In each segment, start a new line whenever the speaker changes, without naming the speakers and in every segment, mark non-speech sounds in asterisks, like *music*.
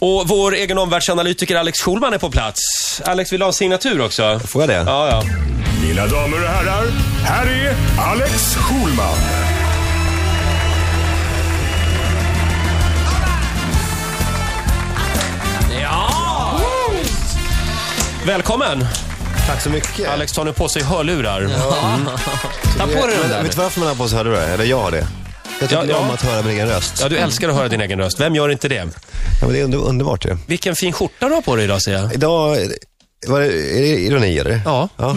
Och vår egen omvärldsanalytiker Alex Schulman är på plats. Alex vill du ha en signatur också.
Får jag det?
Ja, ja.
Mina damer och herrar, här är Alex Schulman.
ja. Välkommen!
Tack så mycket.
Alex tar nu på sig hörlurar. Ta på dig
Men,
den där.
vet du varför man har på sig hörlurar? Eller jag har det. Jag tycker
Ja, ja.
om att höra min egen röst.
Ja,
Ja.
du älskar att höra din egen röst. Vem gör inte det?
men det är under, underbart ju.
Vilken fin skjorta du har på dig idag ser jag.
Idag, var det, är det ironi eller?
Ja.
*laughs* ja.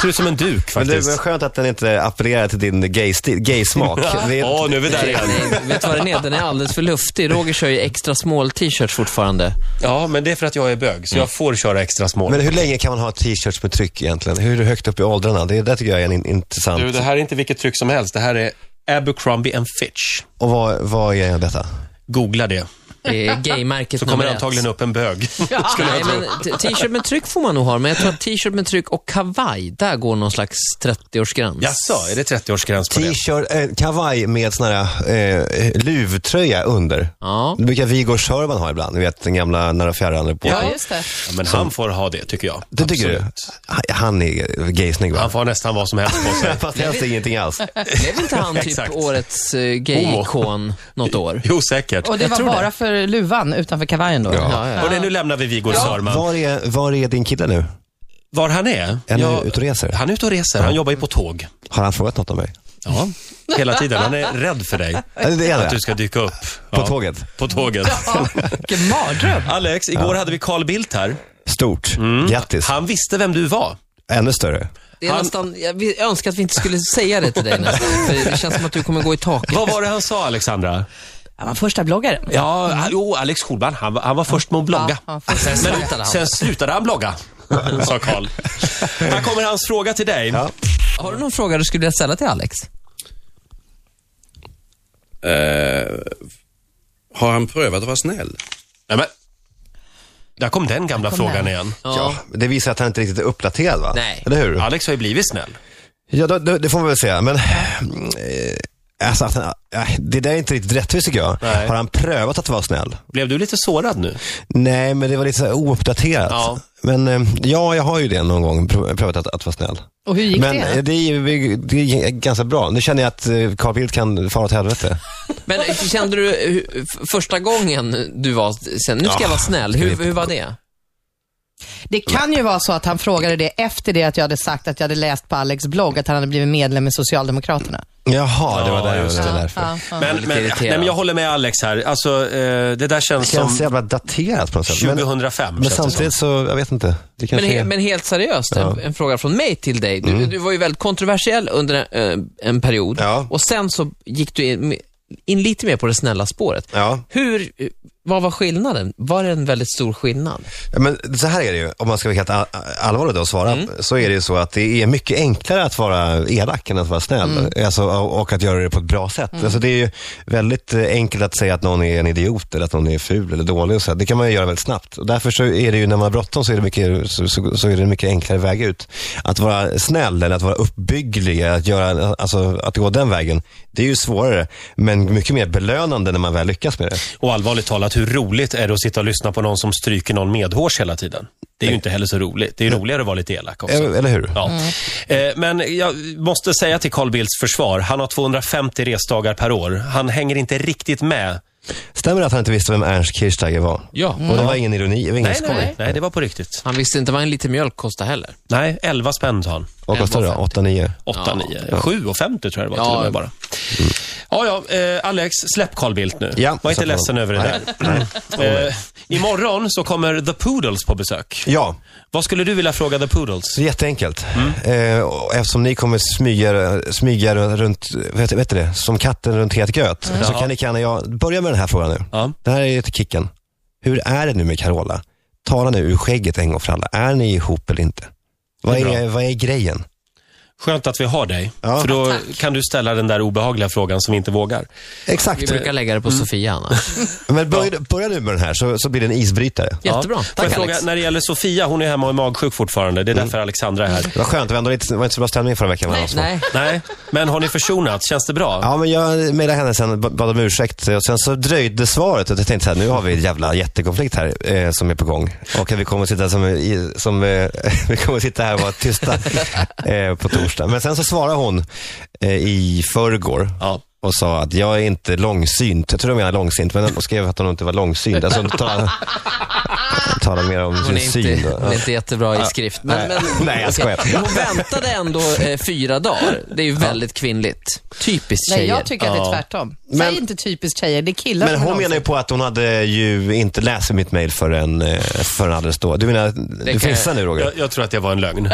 Ser ut som en duk
Men det
faktiskt.
är skönt att den inte appellerar till din gay-stil- gay-smak. Det är-
Åh, nu är vi där
*laughs*
igen.
Nej, vet du vad den är? Den är alldeles för luftig. Roger kör ju extra small t-shirts fortfarande.
Ja, men det är för att jag är bög, så jag får köra extra small.
Mm. Men hur länge kan man ha t-shirts med tryck egentligen? Hur högt upp i åldrarna? Det där tycker jag är en in, intressant.
Du, det här är inte vilket tryck som helst. Det här är Abercrombie and Fitch.
Och vad, vad är detta?
Googla det.
Det är gaymärket
Så kommer
nummer
det
ett.
antagligen upp
*laughs*
en bög. Skulle jag
Nej,
tro.
men t- t-shirt med tryck får man nog ha, men jag tror att t-shirt med tryck och kavaj, där går någon slags 30-årsgräns.
Jaså, är det 30-årsgräns på det?
T-shirt, eh, kavaj med sån här eh, luvtröja under.
Ja.
Det brukar Viggo Sörvan ha ibland. Ni vet den gamla nära fjärran eller på.
Ja, just det.
Ja, men han får ha det, tycker jag.
Det tycker
Absolut.
du? Han- Han är gaysnygg
Han
va?
får ha nästan vad som helst på
*laughs*
sig.
Fast helst ingenting
*laughs*
alls.
Blev inte han typ
Exakt.
årets eh, gay-ikon något år?
Jo, säkert.
Och det var bara för luvan utanför kavajen då?
Ja.
Hörrni, nu lämnar vi Viggo Sörman.
Var är, var är din kille nu?
Var han är?
Är
Ja,
han ute och reser?
Han är ute och reser. Han jobbar ju på tåg.
Har han frågat något om mig?
Ja, hela tiden. Han är rädd för dig.
Eh, Det är
Att
det?
du ska dyka upp.
På tåget?
På tåget.
Vilken mardröm.
Alex, igår hade vi Carl Bildt här.
Stort. Grattis.
Mm. Han visste vem du var.
Ännu större.
Det är
Han-
nästan, jag, vi- jag önskar att vi inte skulle säga det till dig nästan, för det känns som att du kommer gå i taket.
Vad var det han sa, Alexandra?
Han var första bloggaren.
Ja, han- jo, Alex Schulman, han, var- han var först med att blogga.
Ja, han var först.
sen,
slutade
slutade
han.
sen slutade han blogga,
*laughs*
sa Carl. Här kommer hans fråga till dig.
Ja.
Har du någon fråga du skulle vilja ställa till Alex?
Eh, har han prövat att vara snäll?
Nej, men, där kom den gamla
kom
frågan
den.
igen.
Ja. Det visar att han inte riktigt är uppdaterad va?
Nej.
Eller hur?
Alex har ju blivit snäll.
Ja, då, då, det får man väl säga. Men, eh, alltså, att han, eh, det där är inte riktigt rättvist tycker jag.
Nej.
Har han prövat att vara snäll?
Blev du lite sårad nu?
Nej, men det var lite så här ouppdaterat.
Ja.
Men eh, ja, jag har ju det någon gång, prov- prövat att, att vara snäll.
Och hur gick
men
det?
eh, det, är, ju- det är ganska bra. Nu känner jag att eh, Carl Bildt kan fara åt helvete.
Men kände du hur- f- första gången du var, sen, nu ska jag vara snäll, hur, hur var det?
Det kan ju vara så att han frågade det efter det att jag hade sagt att jag hade läst på Alex blogg att han hade blivit medlem i Socialdemokraterna.
Jaha, det var
Ja,
där,
just
det var
Ja,
därför.
ja, ja.
Men,
lite
men,
irriterad.
nej, men jag håller med Alex här. Alltså, eh, det där känns
Det känns så
som
jävla daterat på något sätt. Men,
2005.
men
känns det som.
samtidigt så, jag vet inte. Det
Men,
kanske
he-
är...
men helt seriöst, en, en fråga från mig till dig. Du, du var ju väldigt kontroversiell under en, eh, en period
Ja.
och sen så gick du in, in lite mer på det snälla spåret.
Ja.
Hur, vad var skillnaden? Var det en väldigt stor skillnad?
Ja, Men så här är det ju, om man ska vara helt all- allvarlig då och svara, så är det ju så att det är mycket enklare att vara elak än att vara snäll. Alltså, och och att göra det på ett bra sätt. Alltså, det är ju väldigt eh, enkelt att säga att någon är en idiot eller att någon är ful eller dålig. Och så här. Det kan man ju göra väldigt snabbt. Och därför så är det ju, när man har bråttom så är, det mycket, så, så, så är det en mycket enklare väg ut. Att vara snäll eller att vara uppbygglig, att, göra, alltså, att gå den vägen, det är ju svårare. Men mycket mer belönande när man väl lyckas med det.
Och allvarligt talat, hur roligt är det att sitta och lyssna på någon som stryker någon medhårs hela tiden? Det är ju inte heller så roligt. Det är ju roligare att vara lite elak också.
Eller- Eller hur?
Ja. Eh, Men jag måste säga till Carl Bildts försvar, han har 250 resdagar per år. Han hänger inte riktigt med.
Stämmer det att han inte visste vem Ernst Kirchsteiger var?
Ja.
Och det var ingen ironi, det var ingen
Nej,
skoj.
nej, nej, det var på riktigt.
Han visste inte vad en liten mjölk kostade heller.
Nej, 11 spänn sa han.
Vad kostade det då? 8-9?
8, 9, 7,50 tror jag det var till och med bara. Ja, ja, eh, Alex, släpp Carl Bildt nu.
Ja,
Var inte
släpp
ledsen
honom.
över det där. eh, imorgon så kommer The Poodles på besök.
Ja,
Vad skulle du vilja fråga The Poodles?
så jätteenkelt. Eh, och eftersom ni kommer smyga, smyga runt, vet, vet du det, som katten runt het gröt, så kan ni kan jag börja med den här frågan nu.
Ja.
Det här är ju till kicken. Hur är det nu med Carola? Tala nu ur skägget en gång för alla. Är ni ihop eller inte? Vad
Det är
är, vad är grejen?
Skönt att vi har dig.
Ja.
För då kan du ställa den där obehagliga frågan som vi inte vågar.
Vi
Exakt.
brukar lägga det på Sofia annars.
Men börja, börja du med den här så, så blir det en isbrytare.
Jättebra.
Ja. Får
Tack
jag fråga,
Alex.
när det gäller Sofia, hon är hemma och är magsjuk fortfarande. Det är
Mm.
därför Alexandra är här.
*laughs* Det var skönt, det var ändå lite, det var inte så bra stämning förra veckan. Nej,
Nej.
Nej, men har ni försonat? Känns det bra?
Ja, men jag mejlade henne sen, ba- bad om ursäkt och sen så dröjde svaret. Och jag tänkte så här, nu har vi en jävla jättekonflikt här eh, som är på gång. Och vi kommer att sitta, som, i- som, eh, *laughs* vi kommer att sitta här och vara
*laughs*
tysta eh, på torsdag. Men sen så svarade hon eh, i förrgår.
Ja.
och sa att jag är inte långsynt. Jag tror de menar långsint, men de skrev att hon inte var långsynt. Alltså, tala,
*laughs*
tala mer om
Hon
sin
är,
syn.
inte,
då.
hon är inte jättebra i skrift. Men,
Nej.
*laughs*
men,
Nej, jag skojar.
Okej. Hon väntade ändå eh, fyra dagar. Det är ju väldigt kvinnligt. Typiskt
Nej,
tjejer.
jag tycker att det är tvärtom. Säg
Men-
inte typiskt tjejer, det är killar
Men
som är
hon menar ju
långsamma.
på att hon hade ju inte läst mitt mejl förrän, eh, förrän alldeles då. Du menar, du
kan-
fixar nu Roger?
Jag, jag tror att det var en lögn.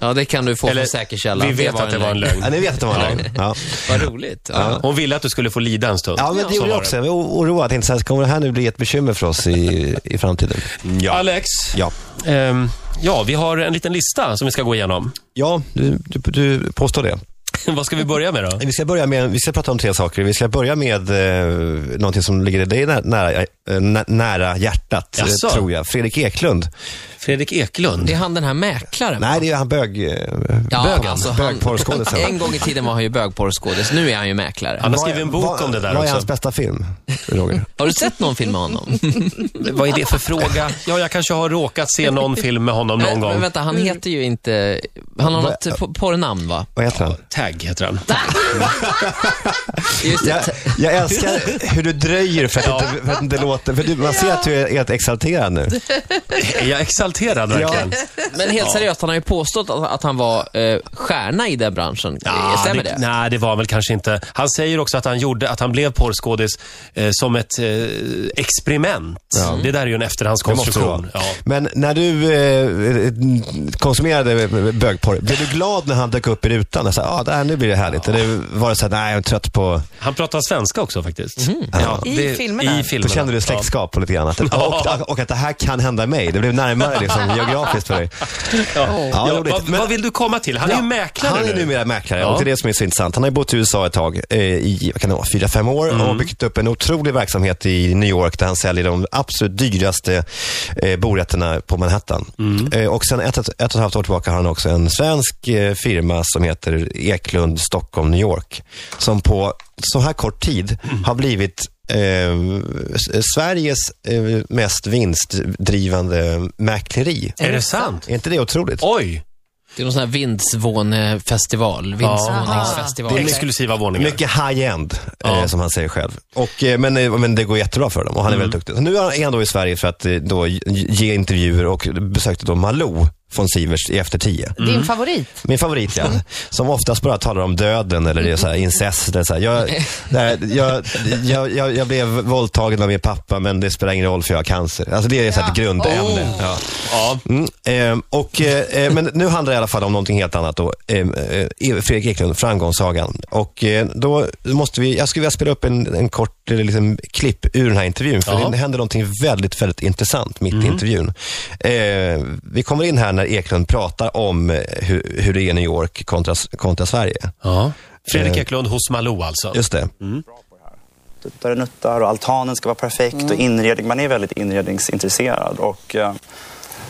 Ja, det kan du få
Eller,
från säker källa.
Vi vet att det var en lögn.
Ja, ni vet att det var en lögn. Ja.
Vad roligt. Ja.
Hon ville att du skulle få lida en stund.
ja, men det
Så
gjorde jag
var
också. Jag var o- oroad. Jag tänkte så här, kommer det här nu bli ett bekymmer för oss i, i framtiden? Ja.
Alex,
Ja,
ehm, ja, vi har en liten lista som vi ska gå igenom. *laughs*
ja du, du, du påstår det.
Vad ska vi börja med då?
Vi ska, börja med, vi ska prata om tre saker. Vi ska börja med eh, någonting som ligger dig nä- nära, eh, nä- nära hjärtat, eh,
Jaså?
tror jag. Fredrik Eklund.
Fredrik Eklund.
Det är han den här mäklaren.
Nej, det är han bög, eh,
Ja,
bögen.
alltså han-
Bögporrskådisen.
En gång i tiden var han ju bögporrskådis, nu är han ju mäklare.
Han har
Vad är-
skrivit en bok
vad-
om det där
Vad är
också.
hans bästa film, Roger?
Har du sett någon film med honom?
Vad är det för fråga? Ja, jag kanske har råkat se någon film med honom någon
men,
gång.
men vänta, han heter ju inte... Han har något po- porrnamn va?
Vad heter han?
Tag heter han.
Just det.
Jag, jag älskar hur du dröjer för att, inte, för att inte låta... För du, man ser att du är helt exalterad nu.
Är jag exalterad verkligen?
Men helt seriöst, han har ju påstått att, att han var eh, stjärna i den branschen.
Ja,
Stämmer det?
Nej, det var väl kanske inte. Han säger också att han gjorde att han blev porrskådis eh, som ett eh, experiment. Det där är ju en
Det måste det vara.
efterhandskonstruktion. Ja.
Men när du eh, konsumerade bögporr, blev du glad när han dök upp i rutan? Alltså, ah, det här, nu blir det härligt. Eller var det så här, nej, jag är trött på...
Han pratar svenska också faktiskt. Mhm. Ja,
I filmerna.
I
Då
filmerna.
kände du släktskap och lite grann. Att, och, och att det här kan hända mig. Det blev närmare liksom, geografiskt för dig.
Ja. Ja,
Ja, roligt.
vad,
Men-
vad vill du komma till? Han är ju mäklare
Han är
nu.
numera mäklare
Ja.
och det är det som är så intressant. Han har ju bott i USA ett tag, eh, i vad kan det vara, fyra, fem år
Mm.
och byggt upp en otrolig verksamhet i New York där han säljer de absolut dyraste eh, borätterna på Manhattan.
Mm.
Eh, och sen ett, ett, ett och ett halvt år tillbaka har han också en svensk eh, firma som heter Eklund Stockholm New York. Som på så här kort tid har blivit Eh, S- Sveriges eh, mest vinstdrivande mäkleri.
Är det sant?
Är inte det otroligt?
Oj!
Det är någon sån här vindsvånefestival, vindsvåningsfestival.
Det är exklusiva våningar.
Mycket high-end,
Ja.
eh, som han säger själv. Mm. Och, eh, men, eh, men det går jättebra för dem och han är väldigt duktig. Så nu är han då i Sverige för att eh, då ge- ge intervjuer och besökte då Malou von Sivers i Efter tio.
Din favorit.
Min favorit *laughs* ja, som oftast bara talar om döden eller det är så här incest. Eller så här. Jag, *laughs* det här, jag, jag, jag, jag blev våldtagen av min pappa men det spelar ingen roll för jag har cancer. Alltså det är så här ett grundämne. Ja.
Ja.
Mm, ehm, och, eh, eh, men nu handlar det i alla fall om någonting helt annat då. Ehm, eh, Fredrik Eklund, framgångssagan. Och eh, då måste vi, jag skulle vilja spela upp en, en kort eh, liten klipp ur den här intervjun. För
Ja.
det händer någonting väldigt, väldigt intressant mitt i intervjun. Eh, vi kommer in här när Eklund pratar om eh, hur, hur det är i New York kontra, kontra Sverige.
Ja. Fredrik
Eh.
Eklund hos Malou alltså.
Just det.
tuttar och nuttar Typ och altanen ska vara perfekt och inredning. Man är väldigt inredningsintresserad. Och, eh,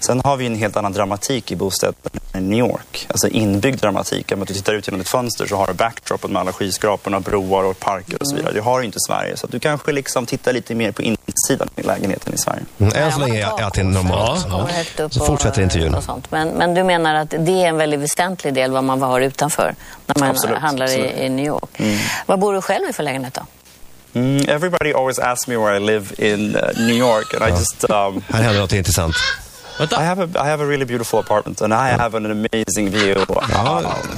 sen har vi en helt annan dramatik i bostäderna i New York. Alltså inbyggd dramatik. Om du tittar ut genom ett fönster så har du backdropen med alla skyskraporna, broar och parker och så vidare. Det har du inte i Sverige. Så att du kanske liksom tittar lite mer på insidan i lägenheten i Sverige.
Mm, Än så länge är jag- är att det är normalt.
Ja.
och högt upp
Så fortsätter
och,
intervjun.
Och sånt. Men, men du menar att det är en väldigt väsentlig del vad man har utanför när man
Absolut,
handlar
absolut.
I, i New York. Vad bor du själv i för lägenhet då?
Mm, everybody always asks me where I live in eh, New York and I just um,
Här händer något intressant.
I have a I have a really beautiful apartment and I have an amazing view.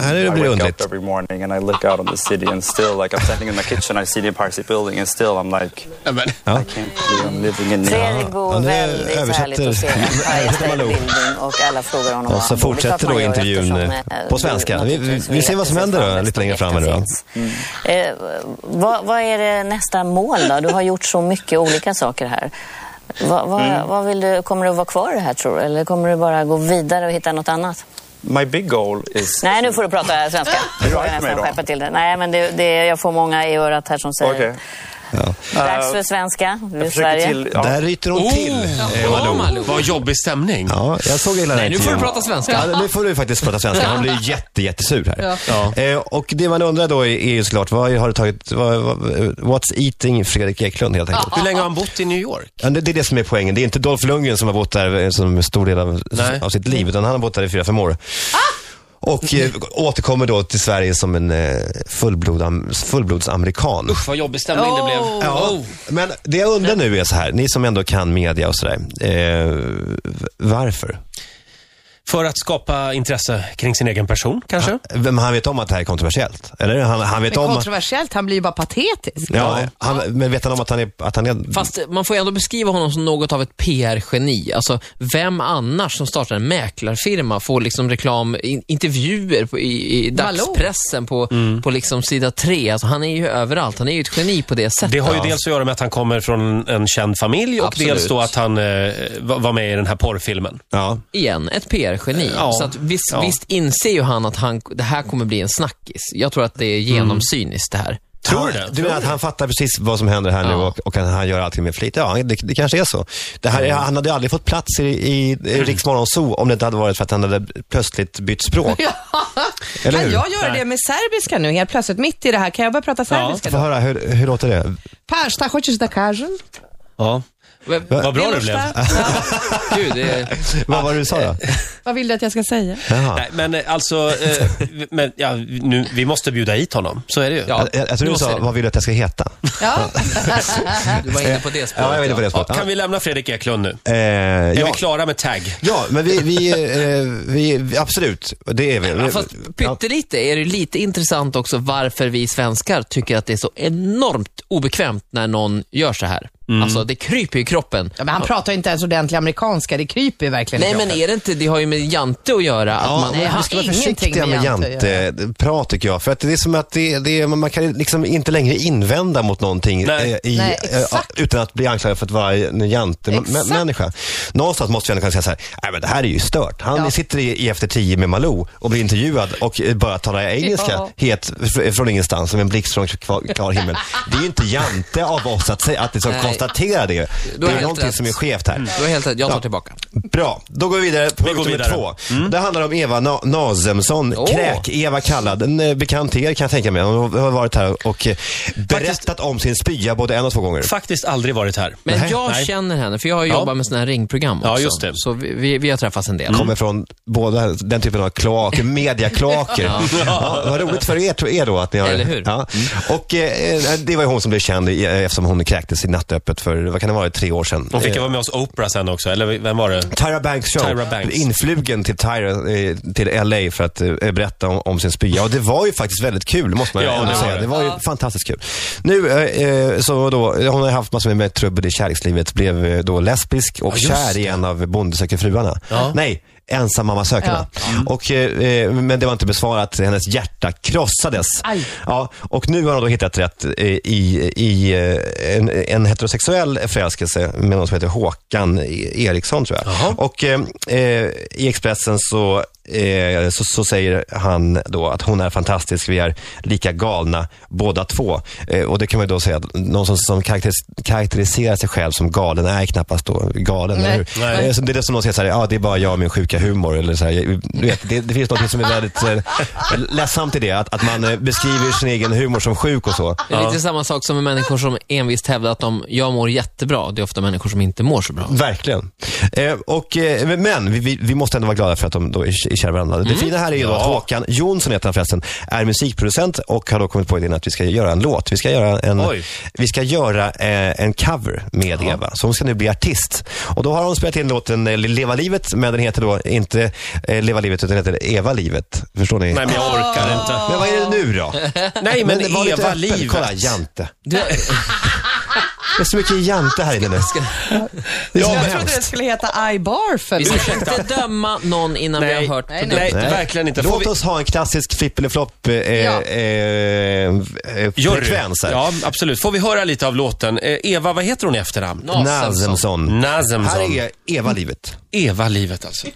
här är det
I wake
grundligt.
up every morning and I look out on the city and still like I'm standing in my kitchen I see the Empire State Building and still I'm like I can't believe I'm living in New York.
Fredrik bor
ja, nu
väldigt
översätter-
härligt att
*laughs*
se Empire
översätter
State
Malou.
Building och alla frågar honom
Och så
var han bor. Det är
fortsätter
klart man
då
gör
intervjun, eh,
eftersom, eh,
på
du
svenska. Vi- vi-
naturligtvis
vi ser
vet
vad som
precis
händer
var
då,
nästa
lite längre
vecka
fram här då.
finns. Eh, vad, vad är det nästa mål då? Du har gjort så mycket olika saker här.
Mm.
Vad, vad, vad vill du, kommer du att vara kvar i det här tror du? Eller kommer du bara gå vidare och hitta något annat?
My big goal is...
Nej, nu får du
*laughs*
prata svenska. Du får
right
nästan
med då?
skärpa till det. Nej, men det, det, jag får många i örat här som säger
Okej.
dags för svenska. Du är i Sverige.
till... Ja.
Där ryter
Oh,
hon till. eh,
Ja,
Malou.
Malou.
Vad jobbig stämning.
Ja, jag såg hela
Nej, nu får du prata svenska.
Ja, nu får du faktiskt prata svenska. Han
*laughs*
blir jätte, jättesur här.
Ja.
Eh, och det man undrar då är är ju såklart, vad har du tagit, vad, vad, what's eating Fredrik Eklund helt enkelt?
Hur länge har han bott i New York?
Ja, det, det är det som är poängen. Det är inte Dolph Lundgren som har bott där eh, som en stor del av,
Nej.
av sitt liv, utan han har bott där i fyra, fem år.
Ah!
Och eh, återkommer då till Sverige som en eh, fullblod, am- fullblodsamerikan.
Vad jobbig stämning det blev.
Ja,
Oh.
Men det jag undrar nu är så här, ni som ändå kan media och sådär. Eh, varför?
För att skapa intresse kring sin egen person, kanske?
Vem, han vet om att det här är kontroversiellt? Eller han, han vet
Men
om att,
kontroversiellt, han blir ju bara patetisk. *laughs*
ja, han, Men vet han om att han är... Att han är
Fast man får ju ändå beskriva honom som något av ett PR-geni. Alltså, vem annars som startar en mäklarfirma får liksom reklam, in, intervjuer på, i, i
Malou.
dagspressen på,
Mm.
på liksom sida tre. Alltså, han är ju överallt. Han är ju ett geni på det sättet.
Det har ju dels att göra med att han kommer från en känd familj och
Absolut.
dels då att han eh, var var med i den här porrfilmen.
ja.
Igen, ett PR-geni.
Ja.
Så att visst,
Ja.
visst inser ju han att han, det här kommer bli en snackis. Jag tror att det är genomsyniskt det här.
Tror du
han,
det?
Du menar att han fattar precis vad som händer här nu
Ja.
och, och han, han gör allting med flit? Ja, det, det kanske är så. Det här, Han hade aldrig fått plats i, i, i Riksmorgon Zoo om det inte hade varit för att han hade plötsligt bytt språk. Eller
Kan
hur?
jag göra det med serbiska nu helt plötsligt? Mitt i det här, kan jag börja prata serbiska?
Få
Ja.
höra, hur, hur låter det?
Pa, šta hoćeš da kažem?
Ja.
Men-
Vad bra det blev.
Miloš, šta? Ja.
Gud,
*laughs*
det,
Vad var det du sa
*laughs*
då?
Vad vill du att jag ska säga?
Jaha.
Nej, men eh, alltså, eh, men, ja, nu, vi måste bjuda hit honom. Så är det ju.
Ja.
Jag, jag, jag tror
Nu
du
måste
sa,
det.
vad vill du att jag ska heta?
Ja.
Äh, du var inne på det spåret.
*laughs* Ja, jag var inne på det
Ja,
spåret.
kan vi lämna Fredrik Eklund nu?
Ja. Eh,
Är
ja.
vi klara med tagg?
Ja, men vi, vi, eh, vi, vi absolut, det är vi.
Ja, fast pyttelite är det lite intressant också varför vi svenskar tycker att det är så enormt obekvämt när någon gör så här. Alltså det kryper i kroppen.
Ja, men han pratar ju inte ens ordentlig amerikanska, det kryper ju verkligen i
Nej men
kroppen.
är det inte, det har ju med Jante att göra. Att man,
nej,
vi
han
ska
har
vara försiktiga med
ingenting med
janteprat tycker jag. För att det är som att det, det, är- man kan liksom inte längre invända mot någonting
Nej.
eh, I,
Nej,
eh,
exakt.
utan att bli anklagad för att vara en
Exakt.
jantemänniska. Någonstans måste jag ändå kunna säga så här, nej men det här är ju stört. Han
Ja.
sitter i, i Efter tio med Malou och blir intervjuad och eh, bara talar engelska
Ja.
helt fr- eh, från ingenstans, som en blixt från kvar- klar himmel. Det är ju inte jante av oss att, säga, att liksom
Nej.
konstatera det. Det
helt
är någonting
rätt. Mm.
som är skevt här.
Du har helt rätt, jag tar
Ja.
tillbaka.
Bra, då går vi vidare på
Vi går
punkt nummer
vidare. Mm.
två. Det handlar om Eva Na- Nazemson,
Åh.
Kräk-Eva kallad. En eh, bekant till er kan jag tänka mig. Hon har varit här och eh, berättat om sin spya både en och två gånger.
Faktiskt aldrig varit här.
Men
Nej.
jag
Nej.
känner henne, för jag har ju
Ja.
jobbat med sådana här ringprogram också.
Ja, just det.
Så vi, vi, vi har träffats en del.
Kommer
Mm.
från båda den typen av
*laughs*
kloaker, mediaklaker. ja. vad roligt för er, tror er då att ni har...
Eller hur?
Ja.
Mm.
Och eh, det var ju hon som blev känd i- eh, eftersom hon kräktes i Nattöppet för, vad kan det vara, tre år sedan.
Hon fick ju
Eh,
vara med oss Oprah sen också, eller vem var det?
Tyra Banks show.
Tyra Banks.
Blev Influgen till, Tyra, eh, till LA för att eh, berätta om, om sin spya. Och det var ju faktiskt väldigt kul, måste man
Ja,
ändå
det var
säga.
det.
Det var ju fantastiskt kul. Nu, eh, eh, så då, hon har haft massor med trubbel i kärlekslivet. Blev eh, då lesbisk och
Ja, just
kär i en av Bonde söker fruarna.
Ja.
Nej, ensam mamma sökarna. Och, eh, eh, men det var inte besvarat. Hennes hjärta krossades.
Aj.
Ja, och nu har hon då hittat rätt eh, i, i eh, en, en heterosexuell förälskelse med någon som heter Håkan E- Eriksson, tror jag. Och eh, eh, i Expressen så, eh, så, så säger han då att hon är fantastisk, vi är lika galna båda två. Eh, och det kan man ju då säga, att någon som, som karaktäris- karaktäriserar sig själv som galen är knappast då galen,
Nej.
eller hur?
Nej.
Eh, så det är det som någon säger, så här, ja, det är bara jag och min sjuka humor. Eller så här, jag- du vet, det, det finns något som är väldigt eh, ledsamt i det, att, att man eh, beskriver sin egen humor som sjuk och så.
Det är lite samma sak som med människor som envist hävdar att de, jag mår jättebra. Det är ofta människor som inte mår så bra.
Verkligen. Eh, och, eh, men- men vi- vi, vi måste ändå vara glada för att de då är är kära varandra.
Mm.
Det fina här är ju då att Håkan Jonsson heter han förresten, är musikproducent och har då kommit på idén att vi ska göra en låt. Vi ska göra en,
Oj.
vi ska göra, eh, en cover med Eva. Så hon ska nu bli artist. Och då har hon spelat in låten eh, Leva livet, men den heter då inte eh, Leva livet utan heter Eva livet. Förstår ni?
Nej, men jag orkar inte.
Men vad är det nu
*laughs*
då?
Ah. Nej, men,
var lite
Eva
öppen.
Livet.
Kolla, Jante.
Du,
Det är så mycket Jante här inne nu. Det är så
Jag trodde
hemskt.
det skulle heta iBarf.
vi ska inte döma någon innan vi har hört
Nej, nej.
produkten.
Nej, verkligen inte. Får
Låt
vi...
oss ha en klassisk flipp eller flopp eh,
Ja.
eh, eh,
Jury.
frekvens här.
Ja, absolut. Får vi höra lite av låten? Eh, Eva, vad heter hon i efternamn?
Nazemson.
Nazemson.
Nazemson.
Här är Eva-livet.
Eva-livet alltså.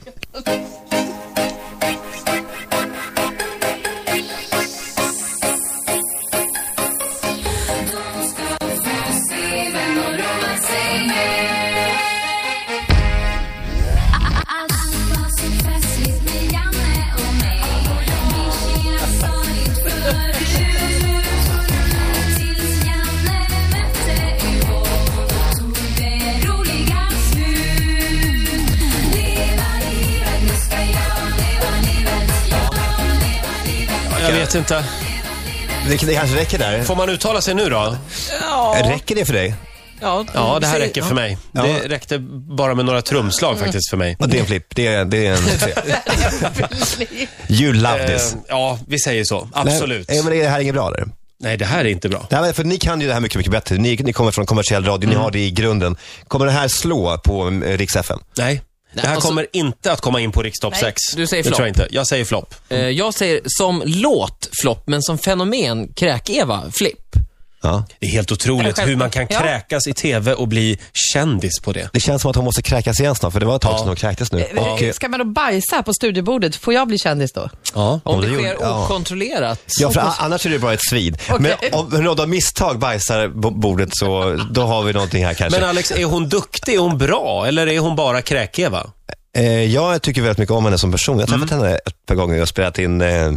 vet inte.
Det, det kanske räcker där.
Får man uttala sig nu då?
Räcker det för dig?
Ja,
Ja, Mm. det här räcker för mig.
Ja.
Det räckte bara med några trumslag faktiskt för mig.
Och det är en flipp. Det är, det är
*laughs*
en You love this.
Eh, ja, vi säger så. Absolut.
Nej, eh,
Nej, eh,
men är det här inget bra eller?
det här är inte bra.
Det här, var- för ni kan ju det här mycket, mycket bättre. Ni, ni kommer från kommersiell radio,
Mm.
ni har det i grunden. Kommer det här slå på eh, Rix FM?
Nej. Det här
alltså-
kommer inte att komma in på Rikstopp 6.
du säger
Det
flopp.
tror jag inte. Jag säger flopp.
Eh, Jag säger som låt flopp, men som fenomen kräk-Eva flipp.
Ja.
Det är helt otroligt
Ja,
hur man kan
ja.
kräkas i TV och bli kändis på det.
Det känns som att hon måste kräkas igen snart, för det var ett tag sedan hon kräktes nu. Och, eh,
Ska man då bajsa på studiebordet? Får jag bli kändis då?
Ja.
Om
Om
det
det
sker
gjorde- ja.
okontrollerat.
Ja, för a- annars är det bara ett svid. Men om någon av misstag bajsar bo- bordet så då har vi någonting här kanske.
Men Alex, är hon duktig? Är hon bra? Eller är hon bara kräk-Eva?
Eh, jag tycker väldigt mycket om henne som person. Jag har
Mm.
träffat henne ett par gånger och spelat in eh,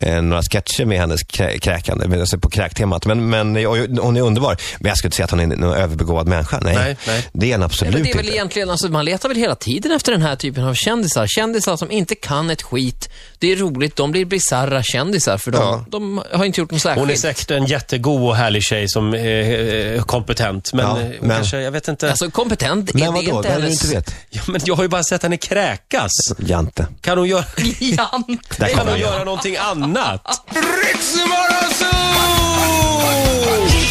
eh, några sketcher med hennes krä- kräkande, men alltså på kräktemat. Men, men och, hon är underbar. Men jag skulle inte säga att hon är någon överbegåvad människa. Nej,
Nej, nej.
det är hon absolut
Men det är väl
inte.
egentligen, alltså, man letar väl hela tiden efter den här typen av kändisar. Kändisar som inte kan ett skit. Det är roligt, de blir bisarra kändisar för de,
Ja.
de har inte gjort något särskilt.
Hon är säkert en jättegod och härlig tjej som är eh, kompetent. Men,
Ja,
eh, hon
men-
kanske, jag vet inte.
Alltså kompetent,
Men
det är
vadå,
inte
det är du
hennes...
inte
*laughs*
vet?
Ja, men jag har ju bara sett henne kräkas.
Jante.
Kan hon göra,
Jant.
Där
kan
kommer
hon
han.
göra någonting annat?
Ritzmorgonzoo!